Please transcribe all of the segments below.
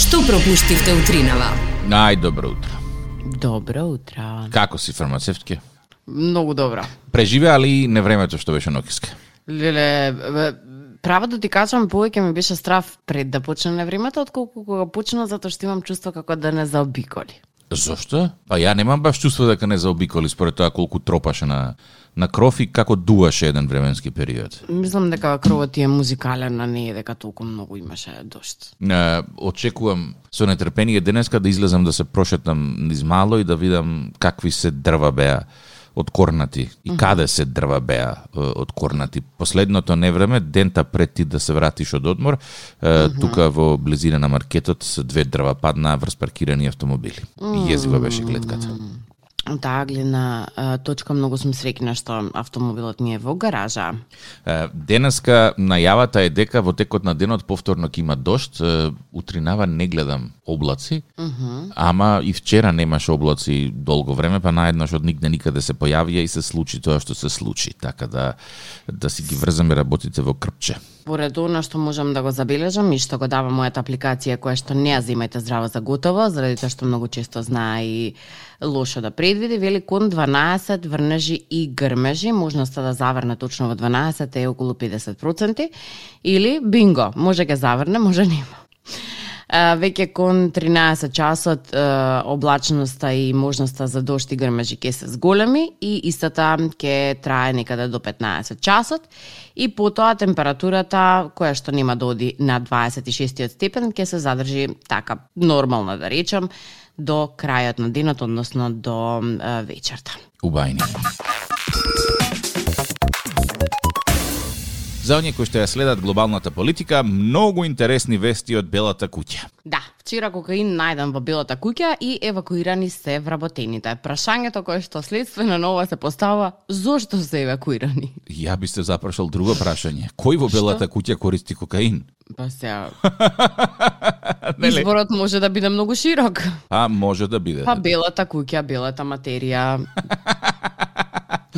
Што пропуштивте утринава? Ај, добро утро. Добро утро. Како си фармацевтки? Многу добро. Преживеа ли невремето што беше нокиска? Леле, бе, право да ти кажам, повеќе ми беше страв пред да почне на времето, отколку кога почна, затоа што имам чувство како да не заобиколи. Зошто? Па ја немам баш чувство дека не заобиколи според тоа колку тропаше на на кров и како дуваше еден временски период. Мислам дека кровот ти е музикален, а не е дека толку многу имаше дошт. Е, очекувам со нетрпение денеска да излезам да се прошетам низ мало и да видам какви се дрва беа откорнати и каде се дрва беа е, откорнати. Последното невреме, дента пред ти да се вратиш од одмор, е, тука во близина на маркетот се две дрва паднаа врз паркирани автомобили. И Језива беше гледката. Од таа гледна а, точка многу сум среќна што автомобилот ни е во гаража. Е, Денеска најавата е дека во текот на денот повторно ќе има дожд. Е, Утринава не гледам облаци, ама и вчера немаше облаци долго време, па наеднаш од нигде никаде се појавија и се случи тоа што се случи. Така да да си ги врзаме работите во крпче. Поред она што можам да го забележам и што го дава мојата апликација која што не ја земајте здраво за готово, заради тоа што многу често знае и лошо да предвиди, вели кон 12 врнежи и грмежи, можноста да заврне точно во 12 е околу 50% или бинго, може ке заврне, може нема. А, веќе кон 13 часот а, облачноста и можноста за дошт и грмежи ќе се зголеми и истата ќе трае некаде до 15 часот и потоа температурата која што нема да оди на 26 степен ќе се задржи така нормална да речам до крајот на денот, односно до а, вечерта. Убајни. За оние кои што ја следат глобалната политика, многу интересни вести од Белата куќа. Да, вчера кокаин најден во Белата куќа и евакуирани се вработените. Прашањето кое што следствено на ова се постава, зошто се евакуирани? Ја би се запрашал друго прашање. Кој во Белата куќа користи кокаин? Па се, Нели? изборот може да биде многу широк. А може да биде. Па белата куќа, белата материја.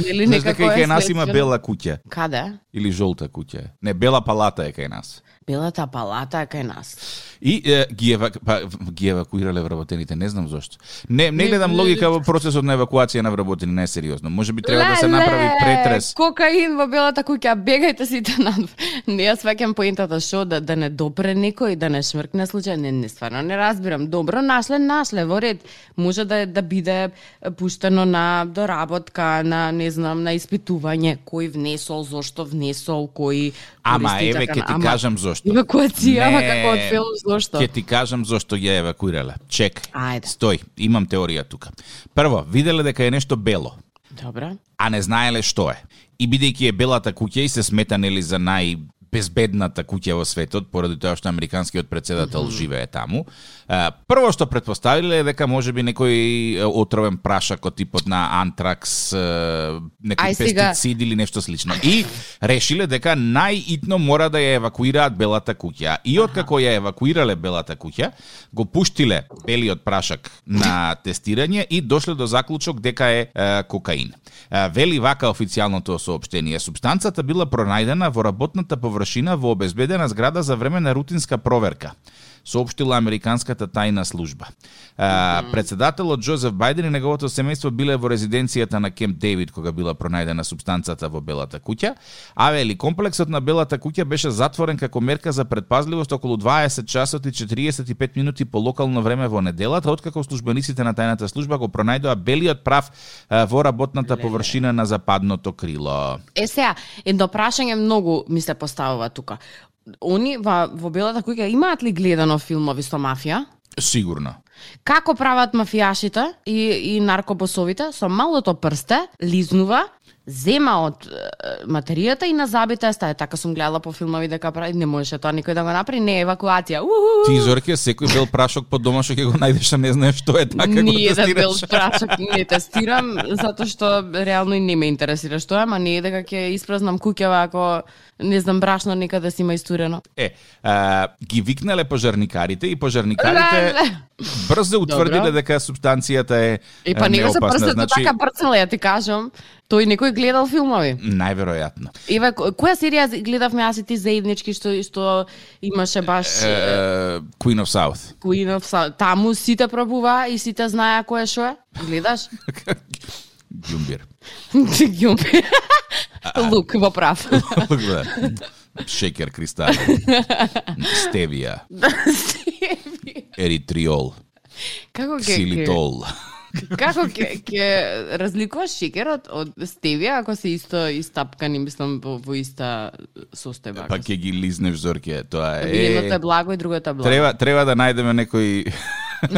Или Знаеш дека и некако кај е нас има следствено- бела куќа Каде? или жолта куќа. Не, бела палата е кај нас. Белата палата е кај нас. И е, ги, евак... па, ги евакуирале вработените, не знам зошто. Не, не гледам логика во процесот на евакуација на вработени, не сериозно. Може би треба да се направи Леле, претрес. Кокаин во белата куќа, бегајте сите надвор. Не ја сваќам поентата што да да не допре никој, да не шмркне случај, не, не стварно не разбирам. Добро, нашле, нашле во ред. Може да е- да биде пуштено на доработка, на не знам, на испитување, кој внесол, зошто внесол, кој Ама користи еве ќе чакан, ти ама- кажам зошто. Евакуација, ама Не, како од филм, зошто? Ќе ти кажам зошто ја евакуирале. Чек. Ајде. Стој, имам теорија тука. Прво, виделе дека е нешто бело, Добра. а не знаеле што е. И бидејќи е белата куќа и се смета нели за нај безбедната куќа во светот, поради тоа што американскиот председател живее таму. а, Прво што предпоставиле е дека може би некој е, отровен прашак од типот на антракс, е, некој Ај, сега. пестицид или нешто слично. И решиле дека најитно мора да ја евакуираат белата куќа. И откако ја евакуирале белата куќа, го пуштиле белиот прашак на тестирање и дошле до заклучок дека е, е кокаин. Е, вели вака официјалното соопштение. Субстанцата била пронајдена во работната површина во обезбедена зграда за време на рутинска проверка соопштила Американската тајна служба. А, председателот Джозеф Бајден и неговото семејство биле во резиденцијата на Кемп Дейвид кога била пронајдена субстанцата во Белата куќа, а вели комплексот на Белата куќа беше затворен како мерка за предпазливост околу 20 часот и 45 минути по локално време во неделата, откако службениците на тајната служба го пронајдоа белиот прав а, во работната површина на западното крило. Е сега, едно прашање многу ми се поставува тука. Они во, во Белата куќа имаат ли гледано филмови со мафија? Сигурно. Како прават мафијашите и, и наркобосовите? Со малото прсте лизнува, зема од е, материјата и на забита стаја. Така сум гледала по филмови дека прави, не можеше тоа никој да го направи, не е евакуација. Уху! Ти Зорке, секој бел прашок под дома што ќе го најдеш, а не знаеш што е така го Ние да бел тестираш. прашак не тестирам, затоа што реално и не ме интересира што е, ма не е дека ќе испразнам куќава ако не знам брашно некаде си има истурено. Е, а, ги викнале пожарникарите и пожарникарите Леле! брзо утврдиле дека субстанцијата е И па него се неопасна. прстот Значи, така брцнале, ја ти кажам. Тој некој гледал филмови. најверојатно. Иве, ко- која серија гледавме аз и ти заеднички што што имаше баш е, Е, Queen of South. Queen of Sa- таму сите пробува и сите знае кое што е? Гледаш? Ѓумбир. Ѓумпи. Лук во прав. Гледа. Шекер кристал. Стевија, еритриол, Како ке- ке ксилитол. како ке, ке разликуваш шекерот од стевија ако се исто истапкани, мислам во, во иста состојба. Па ќе ги лизнеш зорке, тоа Едното е. Така. е благо и другото е благо. Треба треба да најдеме некој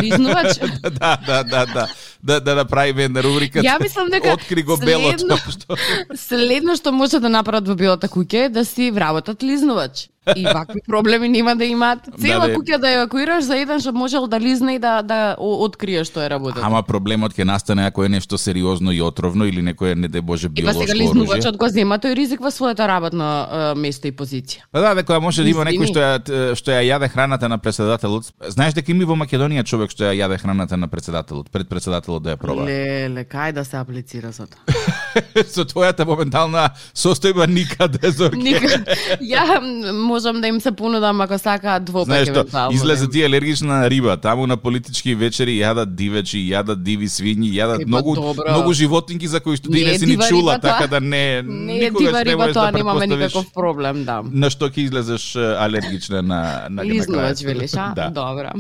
Лизнувач. да, да, да, да, да, да направиме една рубрика. Ја мислам дека откри го следно- белото што Следно што може да направат во билата куќа е да си вработат лизнувач. И вакви проблеми нема да имаат. Цела Да, да. куќа да евакуираш за еден што можел да лизне и да да о- открие што е работата. Ама проблемот ќе настане ако е нешто сериозно и отровно или некое не де боже Па биолошко сега оружје. лизнувачот го зема тој ризик во своето работно е, место и позиција. Па да, дека може да има Извини. некој што ја т- што ја јаде храната на председателот. Знаеш дека има и во Македонија човек што ја јаде храната на председателот, пред председателот да ја проба. Леле, кај да се аплицира за тоа? Со твојата моментална состојба никаде зорке. Никак. Ја м, можам да им се понудам ако сакаат двопак Знаеш што, евентуално, излезе нема. ти алергична на риба, таму на политички вечери јадат дивечи, јадат диви свињи, јадат Е, па многу добро. многу животинки за кои што ти Не е не си ни дива чула, риба така тоа. да не Не е никогаш дива не риба, можеш тоа да немаме претпоставиш никаков проблем, да. на што ќе излезеш е, алергична на на на крај. Лизнувач, велиш, а? Да. Добра.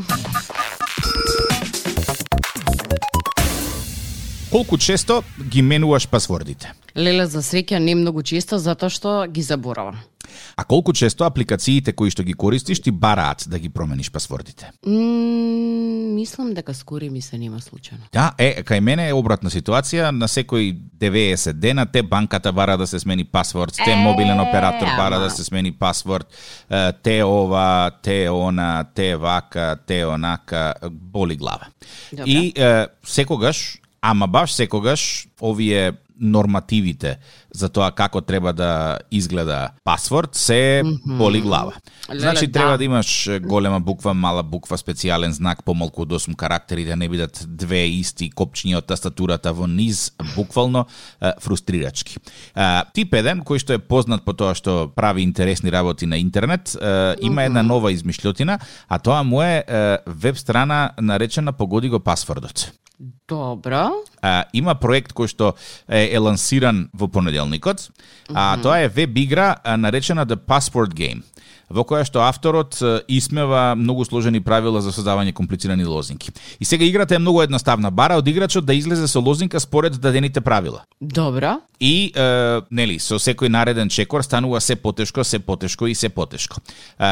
Колку често ги менуваш пасвордите? Леле, за среќа не многу често, затоа што ги заборавам. А колку често апликациите кои што ги користиш ти бараат да ги промениш пасвордите? М, мислам дека скоро ми се нема случајно. Да, е, кај мене е обратна ситуација, на секој 90 дена те банката бара да се смени пасворд, те Е, мобилен оператор бара ама. да се смени пасворд, е, те ова, те она, те вака, те онака, боли глава. Добра. И е, секогаш, ама баш секогаш, овие нормативите за тоа како треба да изгледа пасворд се боли глава. Леле, Значи да. треба да имаш е, голема буква, мала буква, специјален знак, помалку од 8 карактери, да не бидат две исти копчиња од тастатурата во низ, буквално е, фрустрирачки. Е, Тип 1, кој што е познат по тоа што прави интересни работи на интернет, е, има една нова измишлјотина, а тоа му е е, веб страна наречена Погоди го пасвордот. Добро. А, има проект кој што е, е лансиран во понеделникот, а тоа е веб игра а, наречена The Passport Game, во која што авторот е, исмева многу сложени правила за создавање комплицирани лозинки. И сега играта е многу едноставна, бара од играчот да излезе со лозинка според дадените правила. Добро. И, е, нели, со секој нареден чекор станува се потешко, се потешко и се потешко. Е,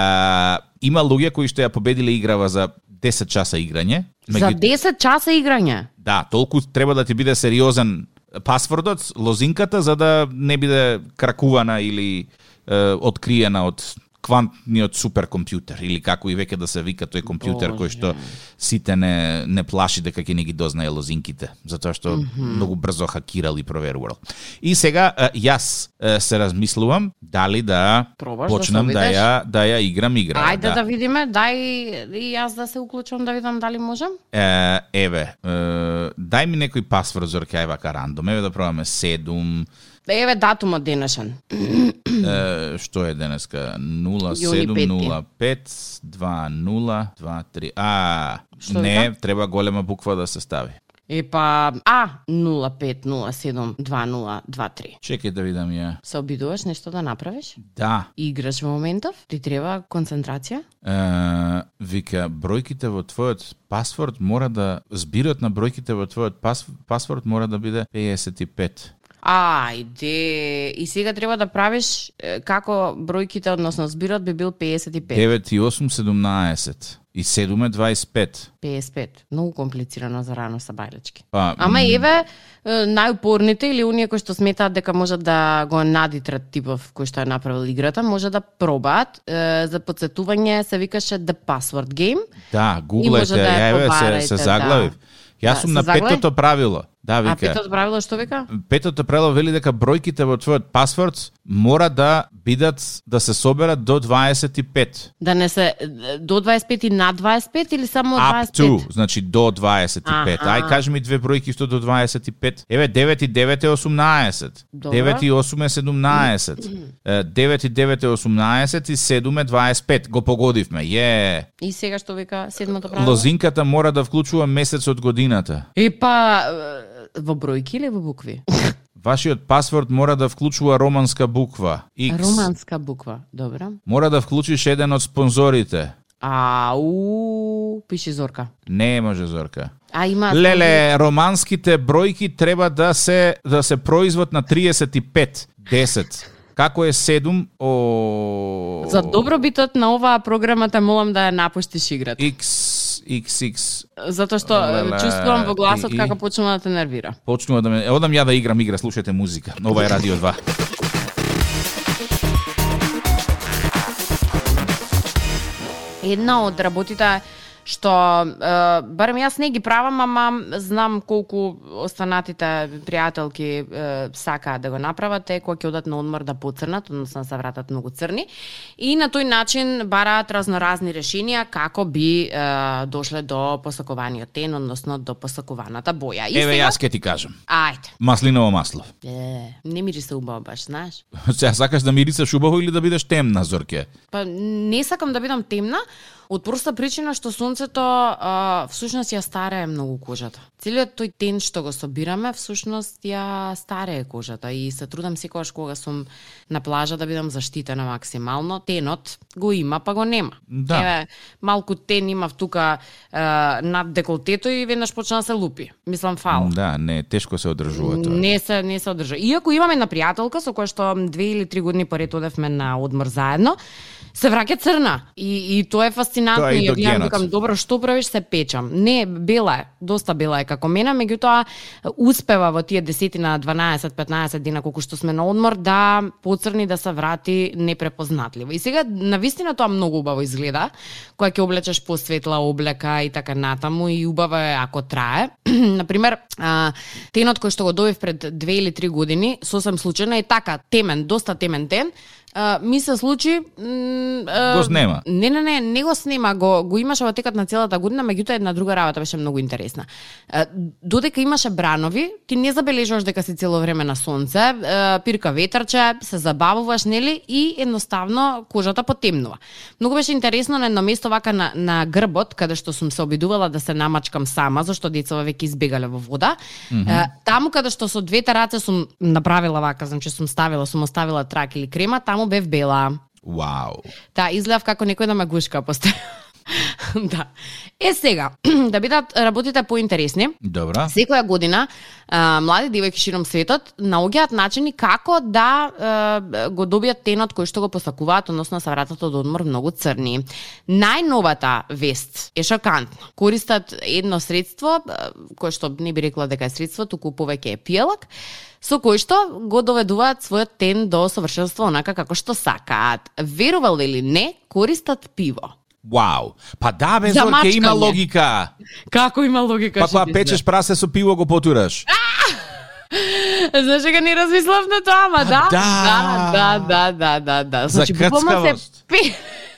има луѓе кои што ја победиле играва за 10 часа играње, За 10 часа играње. Да, толку треба да ти биде сериозен пасвордот, лозинката, за да не биде кракувана или е, откриена од квантниот суперкомпјутер или како и веќе да се вика тој компјутер кој што сите не не плаши дека ќе не ги дознае лозинките, затоа што многу брзо хакирал и проверувал. И сега е, јас е, се размислувам дали да Пробаш да се почнам да, обидеш? ја да ја играм игра. Ајде да. видиме, дај и јас да се уклучам да видам дали можам. Е, еве, е, дај ми некој пасворд за кај вака рандом. Еве да пробаме 7, Еве датумот денешен. е, што е денеска? 07052023. А, Што не, треба голема буква да се стави. Е па А 05072023. Чекај да видам ја. Се обидуваш нешто да направиш? Да. Играш во моментов? Ти треба концентрација? Е, вика, бројките во твојот пасворд мора да збирот на бројките во твојот пас, пасворд мора да биде 55. Ајде, и сега треба да правиш е, како бројките, односно збирот би бил 55. 9 и 8 17 и 7 е 25. 55. Многу комплицирано за рано са бајлечки. Па, Ама еве е, најупорните или оние кои што сметаат дека можат да го надитрат типов кој што ја направил играта, може да пробаат. Е, за подсетување се викаше The Password Game. Да, И може гуглајте, да ја ја еве се, побарајте, се заглавив. да. Јас Да, сум се на заглавив? петото правило. Да, А вика. петото правило што вика? Петото правило вели дека бројките во твојот пасворд мора да бидат да се соберат до 25. Да не се е, до 25 и над 25 или само од Up 25? to, значи до 25. Аха. Ај кажи ми две бројки што до 25. Еве 9 и 9 е 18. Добро. 9 и 8 е 17. Е, 9 и 9 е 18 и 7 е 25. Го погодивме. Је. И сега што вика седмото правило? Лозинката мора да вклучува месец од годината. И па е, во бројки или во букви? Вашиот пасворд мора да вклучува романска буква. X. Романска буква, добра. Мора да вклучиш еден од спонзорите. Ау, пише Зорка. Не може Зорка. А има Леле, романските бројки треба да се да се производ на 35, 10. Како е 7 о За добробитот на оваа програма те молам да ја напуштиш играта. X XX Затоа што е, Леле, чувствувам во гласот и- и- како почнува да те нервира. почнува да ме одам ја да играм игра, слушајте музика. Ова е радио 2. Една од работите што е, барем јас не ги правам, ама знам колку останатите пријателки е, сакаат да го направат, е кога ќе одат на одмор да поцрнат, односно да се вратат многу црни и на тој начин бараат разноразни решенија како би е, дошле до посакуваниот тен, односно до посакуваната боја. И Еве сега- јас ке ти кажам. Ајде. Маслиново масло. Е, не мири се убаво баш, знаеш. Сега сакаш да мирисаш убаво или да бидеш темна, Зорке? Па не сакам да бидам темна, од проста причина што сонцето а, всушност ја старае многу кожата. Целиот тој тен што го собираме всушност ја старае кожата и се трудам секогаш кога сум на плажа да бидам заштитена максимално. Тенот го има, па го нема. Да. Еве, малку тен имав тука е, над деколтето и веднаш почна да се лупи. Мислам фал. Да, не, тешко се одржува тоа. Не се не се одржа. Иако имам една пријателка со која што две или три години поред одевме на одмор заедно, се враќа црна. И и тоа е фасцинантно Тоа е и и до ја гледам генот. викам добро што правиш се печам. Не, бела е, доста бела е како мене, меѓутоа успева во тие 10 на 12, 15 дена колку што сме на одмор да поцрни да се врати непрепознатливо. И сега на вистина тоа многу убаво изгледа, кога ќе облечеш посветла облека и така натаму и убаво е ако трае. на пример, а, тенот кој што го добив пред две или три години, сосем случајно е така темен, доста темен тен, а, ми се случи м, а, Го снема. Не, не, не, не го снема, го, го имаше во текот на целата година, меѓутоа една друга работа беше многу интересна. Е, Додека имаше бранови, ти не забележуваш дека си цело време на сонце, е, пирка ветрче, се забавуваш, нели, и едноставно кожата потемнува. Многу беше интересно на едно место вака на, на грбот, каде што сум се обидувала да се намачкам сама, зашто децава веќе избегале во вода. Mm -hmm. Таму каде што со двете раце сум направила вака, значи сум ставила, сум оставила трак или крема, таму бев бела. Вау. Да, изгледав како некој на магушка постоја. да. Е сега, да бидат работите поинтересни, Добра. секоја година а, млади девојки широм светот наоѓаат начини како да а, го добијат тенот кој што го посакуваат, односно се вратат од одмор многу црни. Најновата вест е шокантна. Користат едно средство, а, кое што не би рекла дека е средство, туку повеќе е пијалак, со кој што го доведуваат својот тен до совршенство онака како што сакаат. Верувал или не, користат пиво. Вау. Па да, бе, За Зорке, има мачкање. логика. Како има логика? Па што кога ти печеш прасе со пиво го потураш. Знаеш дека не размислав на тоа, ама да. да. да, да, да, да, да. Значи, За буквално се крцкавост. пе...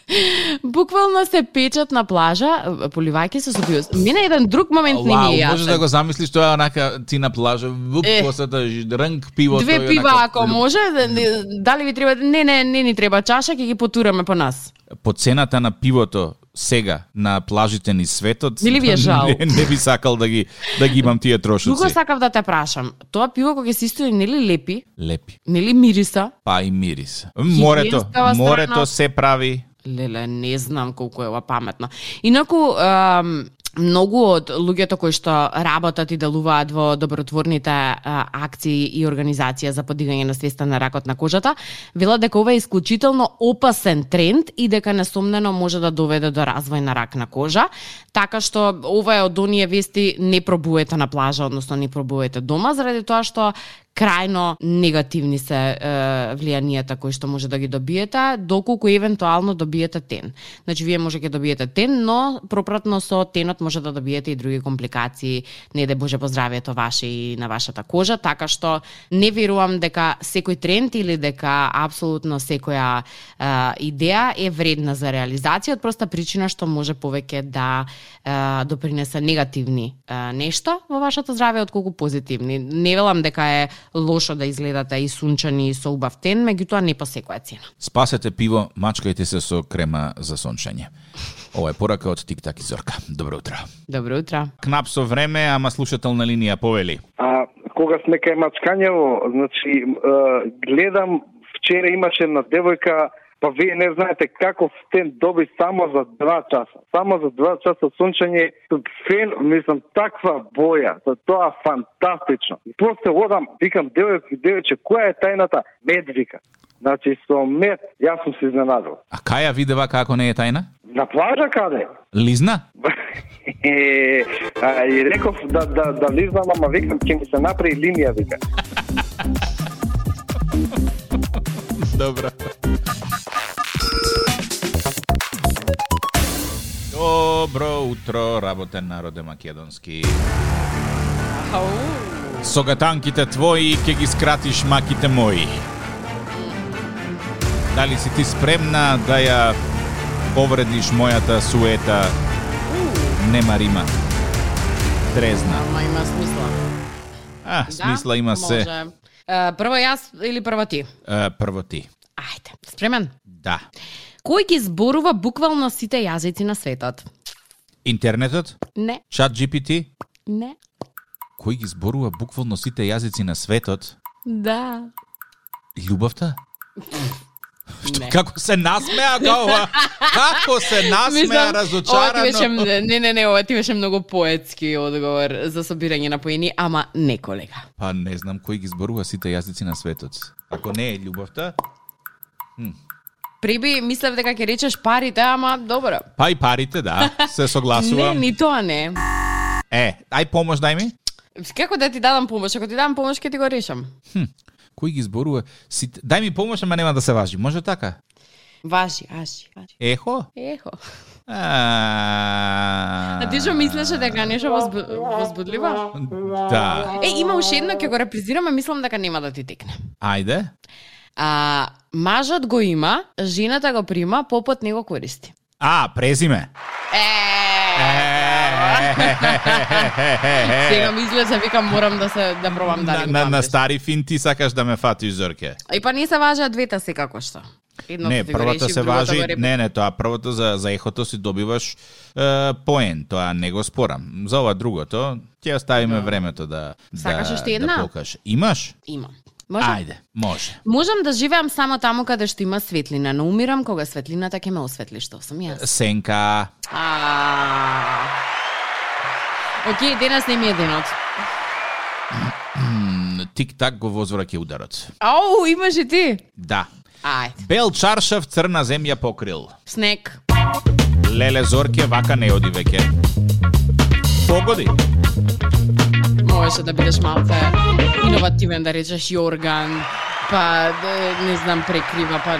буквално се печат на плажа, поливајќи се со пиво. Мене еден друг момент не ми е Вау, можеш да јасен. го замислиш тоа онака ти на плажа, вуп, Е. посета ранг пиво. Две тој пива онака- ако може, да- не- дали ви треба не не не ни треба чаша, ќе ги потураме по нас. По цената на пивото сега на плажите ни светот. Били ви е жал? Не, не би сакал да ги да ги имам тие Друго трошоци. сакав да те прашам, тоа пиво кога ќе се истои нели лепи, Лепи. нели мириса? Па и мирис. Морето, Хигиенскава страна. морето се прави. Леле, не знам колку е ова паметно. Инаку, ем, многу од луѓето кои што работат и делуваат во добротворните е, акции и организација за подигање на свеста на ракот на кожата, велат дека ова е исклучително опасен тренд и дека несомнено може да доведе до развој на рак на кожа, така што ова е од оние вести не пробувате на плажа, односно не пробувате дома, заради тоа што крајно негативни се е, влијанијата кои што може да ги добиете, доколку евентуално добиете тен. Значи вие може ќе добиете тен, но пропратно со тенот може да добиете и други компликации, не де боже по здравјето ваше и на вашата кожа, така што не верувам дека секој тренд или дека апсолутно секоја е, идеја е вредна за реализација од проста причина што може повеќе да е, допринесе негативни е, нешта во вашето здравје отколку позитивни. Не велам дека е лошо да изгледате и сунчани и со убав тен, меѓутоа не по секоја цена. Спасете пиво, мачкајте се со крема за сончање. Ова е порака од Тик Так и Зорка. Добро утро. Добро утро. Кнап со време, ама слушателна линија повели. А кога сме кај мачкањево, значи е, гледам вчера имаше една девојка Па вие не знаете како стен доби само за два часа. Само за два часа сончење, фен, мислам, таква боја, за тоа фантастично. И после одам, викам, девојче, девојче, која е тајната? Мед, вика. Значи, со мед, јас сум се изненадал. А кај ја видева како не е тајна? На плажа каде? Лизна? Е, а, и реков да, да, да лизнам, ама викам, ќе ми се направи линија, вика. Добро. Добро утро, работен народе македонски. Со гатанките твои ќе ги скратиш маките мои. Дали си ти спремна да ја повредиш мојата суета? Нема рима. Трезна. Ама има смисла. А, смисла има се. Да, Може. Е, прво јас или прво ти? Е, прво ти. Ајде, спремен. Да. Кој ги зборува буквално сите јазици на светот? Интернетот? Не, Чат GPT? не, Кој ги зборува буквално сите јазици на светот? да. Љубовта? Што, Не. како се насмеа га ова? Како се насмеа Ова ти беше, разочарано? м- не, не, не, ова ти беше многу поетски одговор за собирање на поени, ама не колега. Па не знам кој ги зборува сите јазици на светот. Ако не е љубовта, Приби, мислев дека ќе речеш парите, ама добро. па и парите, да, се Не, согласувам. ни тоа не. Е, ај помош дај ми. Како да ти дадам помош? Ако ти дадам помош, ќе ти го решам. Кој ги зборува сите... Дај ми помош, ама нема да се важи. Може така? Важи, ажи, ажи. Ехо? Ехо. А, А ти што мислеше дека нешто возбу... возбудливо? Да. Е, има уште едно, ќе го репризираме, мислам дека нема да ти текне. Ајде. А, мажот го има, жената го прима, попот не го користи. А, презиме. Е, сега ми излезе, викам, морам да се да пробам да на, не го на, на направиш. стари фин ти сакаш да ме фатиш, Зорке. И па не се важат двете секако што. Едното Не, ти го првата реши, се другото важи, го репри- не, не, тоа првото за, за ехото си добиваш е, поен, тоа не го спорам. За ова другото, ќе оставиме времето да, Сакаш да, уште една? да покажеш. Имаш? Имам. Можам? Ајде, може. Можам да живеам само таму каде што има светлина, но умирам кога светлината ќе ме осветли, што сум јас. Сенка, А. Океј, денес не ми е денот. тик-так го возвраќа ударот. Ау, имаш и ти. Да. Ајде. Бел чаршав црна земја покрил. Снег. Леле Зорке, вака не оди веќе. Погоди. Можеше да бидеш малце иновативен, да речеш јорган, па да, не знам прекрива, па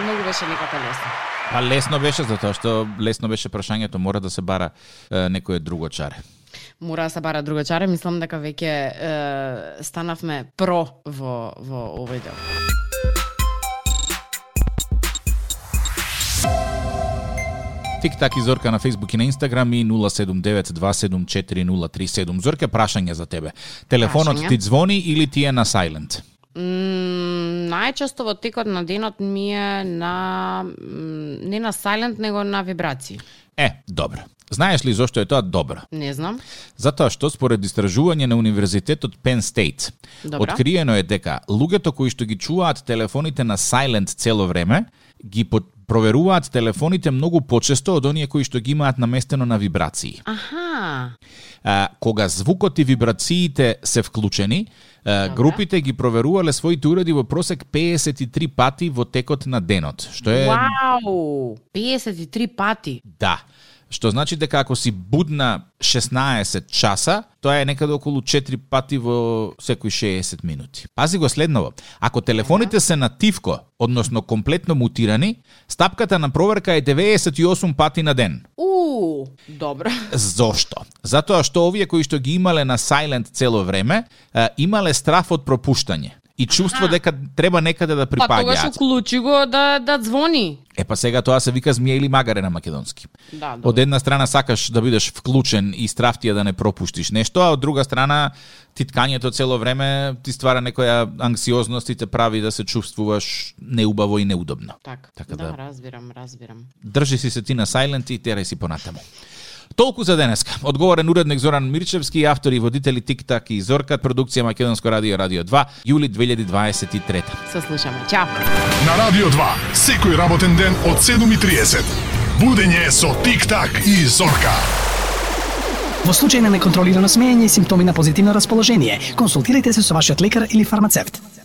многу беше некако лесно. Па лесно беше затоа што лесно беше прашањето, мора да се бара е, некое друго чаре. Мора да се бара друга чара, мислам дека веќе е, станавме про во во овој дел. Тик-так и Зорка на Facebook и на Instagram и 079-274-037. Зорка, прашање за тебе. Телефонот Прашање. ти звони или ти е на silent? М, најчесто во текот на денот ми е на м, не на silent него на вибрации. Е, добро. Знаеш ли зошто е тоа добро? Не знам. Затоа што според истражување на Универзитетот Penn State, Добра. откриено е дека луѓето кои што ги чуваат телефоните на silent цело време, ги под- проверуваат телефоните многу почесто од оние кои што ги имаат наместено на вибрации. Аха. А, кога звукот и вибрациите се вклучени, а, групите ги проверувале своите уреди во просек 53 пати во текот на денот, што е Вау! 53 пати. да. Што значи дека ако си будна 16 часа, тоа е некаде околу 4 пати во секои 60 минути. Пази го следново. Ако телефоните се на тивко, односно комплетно мутирани, стапката на проверка е 98 пати на ден. У, добро. Зошто? Затоа што овие кои што ги имале на silent цело време, а, имале страф од пропуштање и чувство Аха. дека треба некаде да Па тогаш припаѓаат. уклучи го да да звони. Е па сега тоа се вика змија или магаре на македонски. Да, добро. Од една страна сакаш да бидеш вклучен и страф ти е да не пропуштиш нешто, а од друга страна титкањето цело време ти ствара некоја анксиозност и те прави да се чувствуваш неубаво и неудобно. Така, Така така да. да, разбирам, разбирам. Држи си се ти на сајлент и терај си понатаму. Толку за денеска. Одговорен уредник Зоран Мирчевски, автори и водители Тик-так и Зорка, продукција Македонско радио Радио 2, јули 2023. Се слушаме. Чао. На Радио 2, секој работен ден од 7.30. Будење со Тик-так и Зорка. Во случај на неконтролирано смеење и симптоми на позитивно расположение, консултирайте се со вашиот лекар или фармацевт.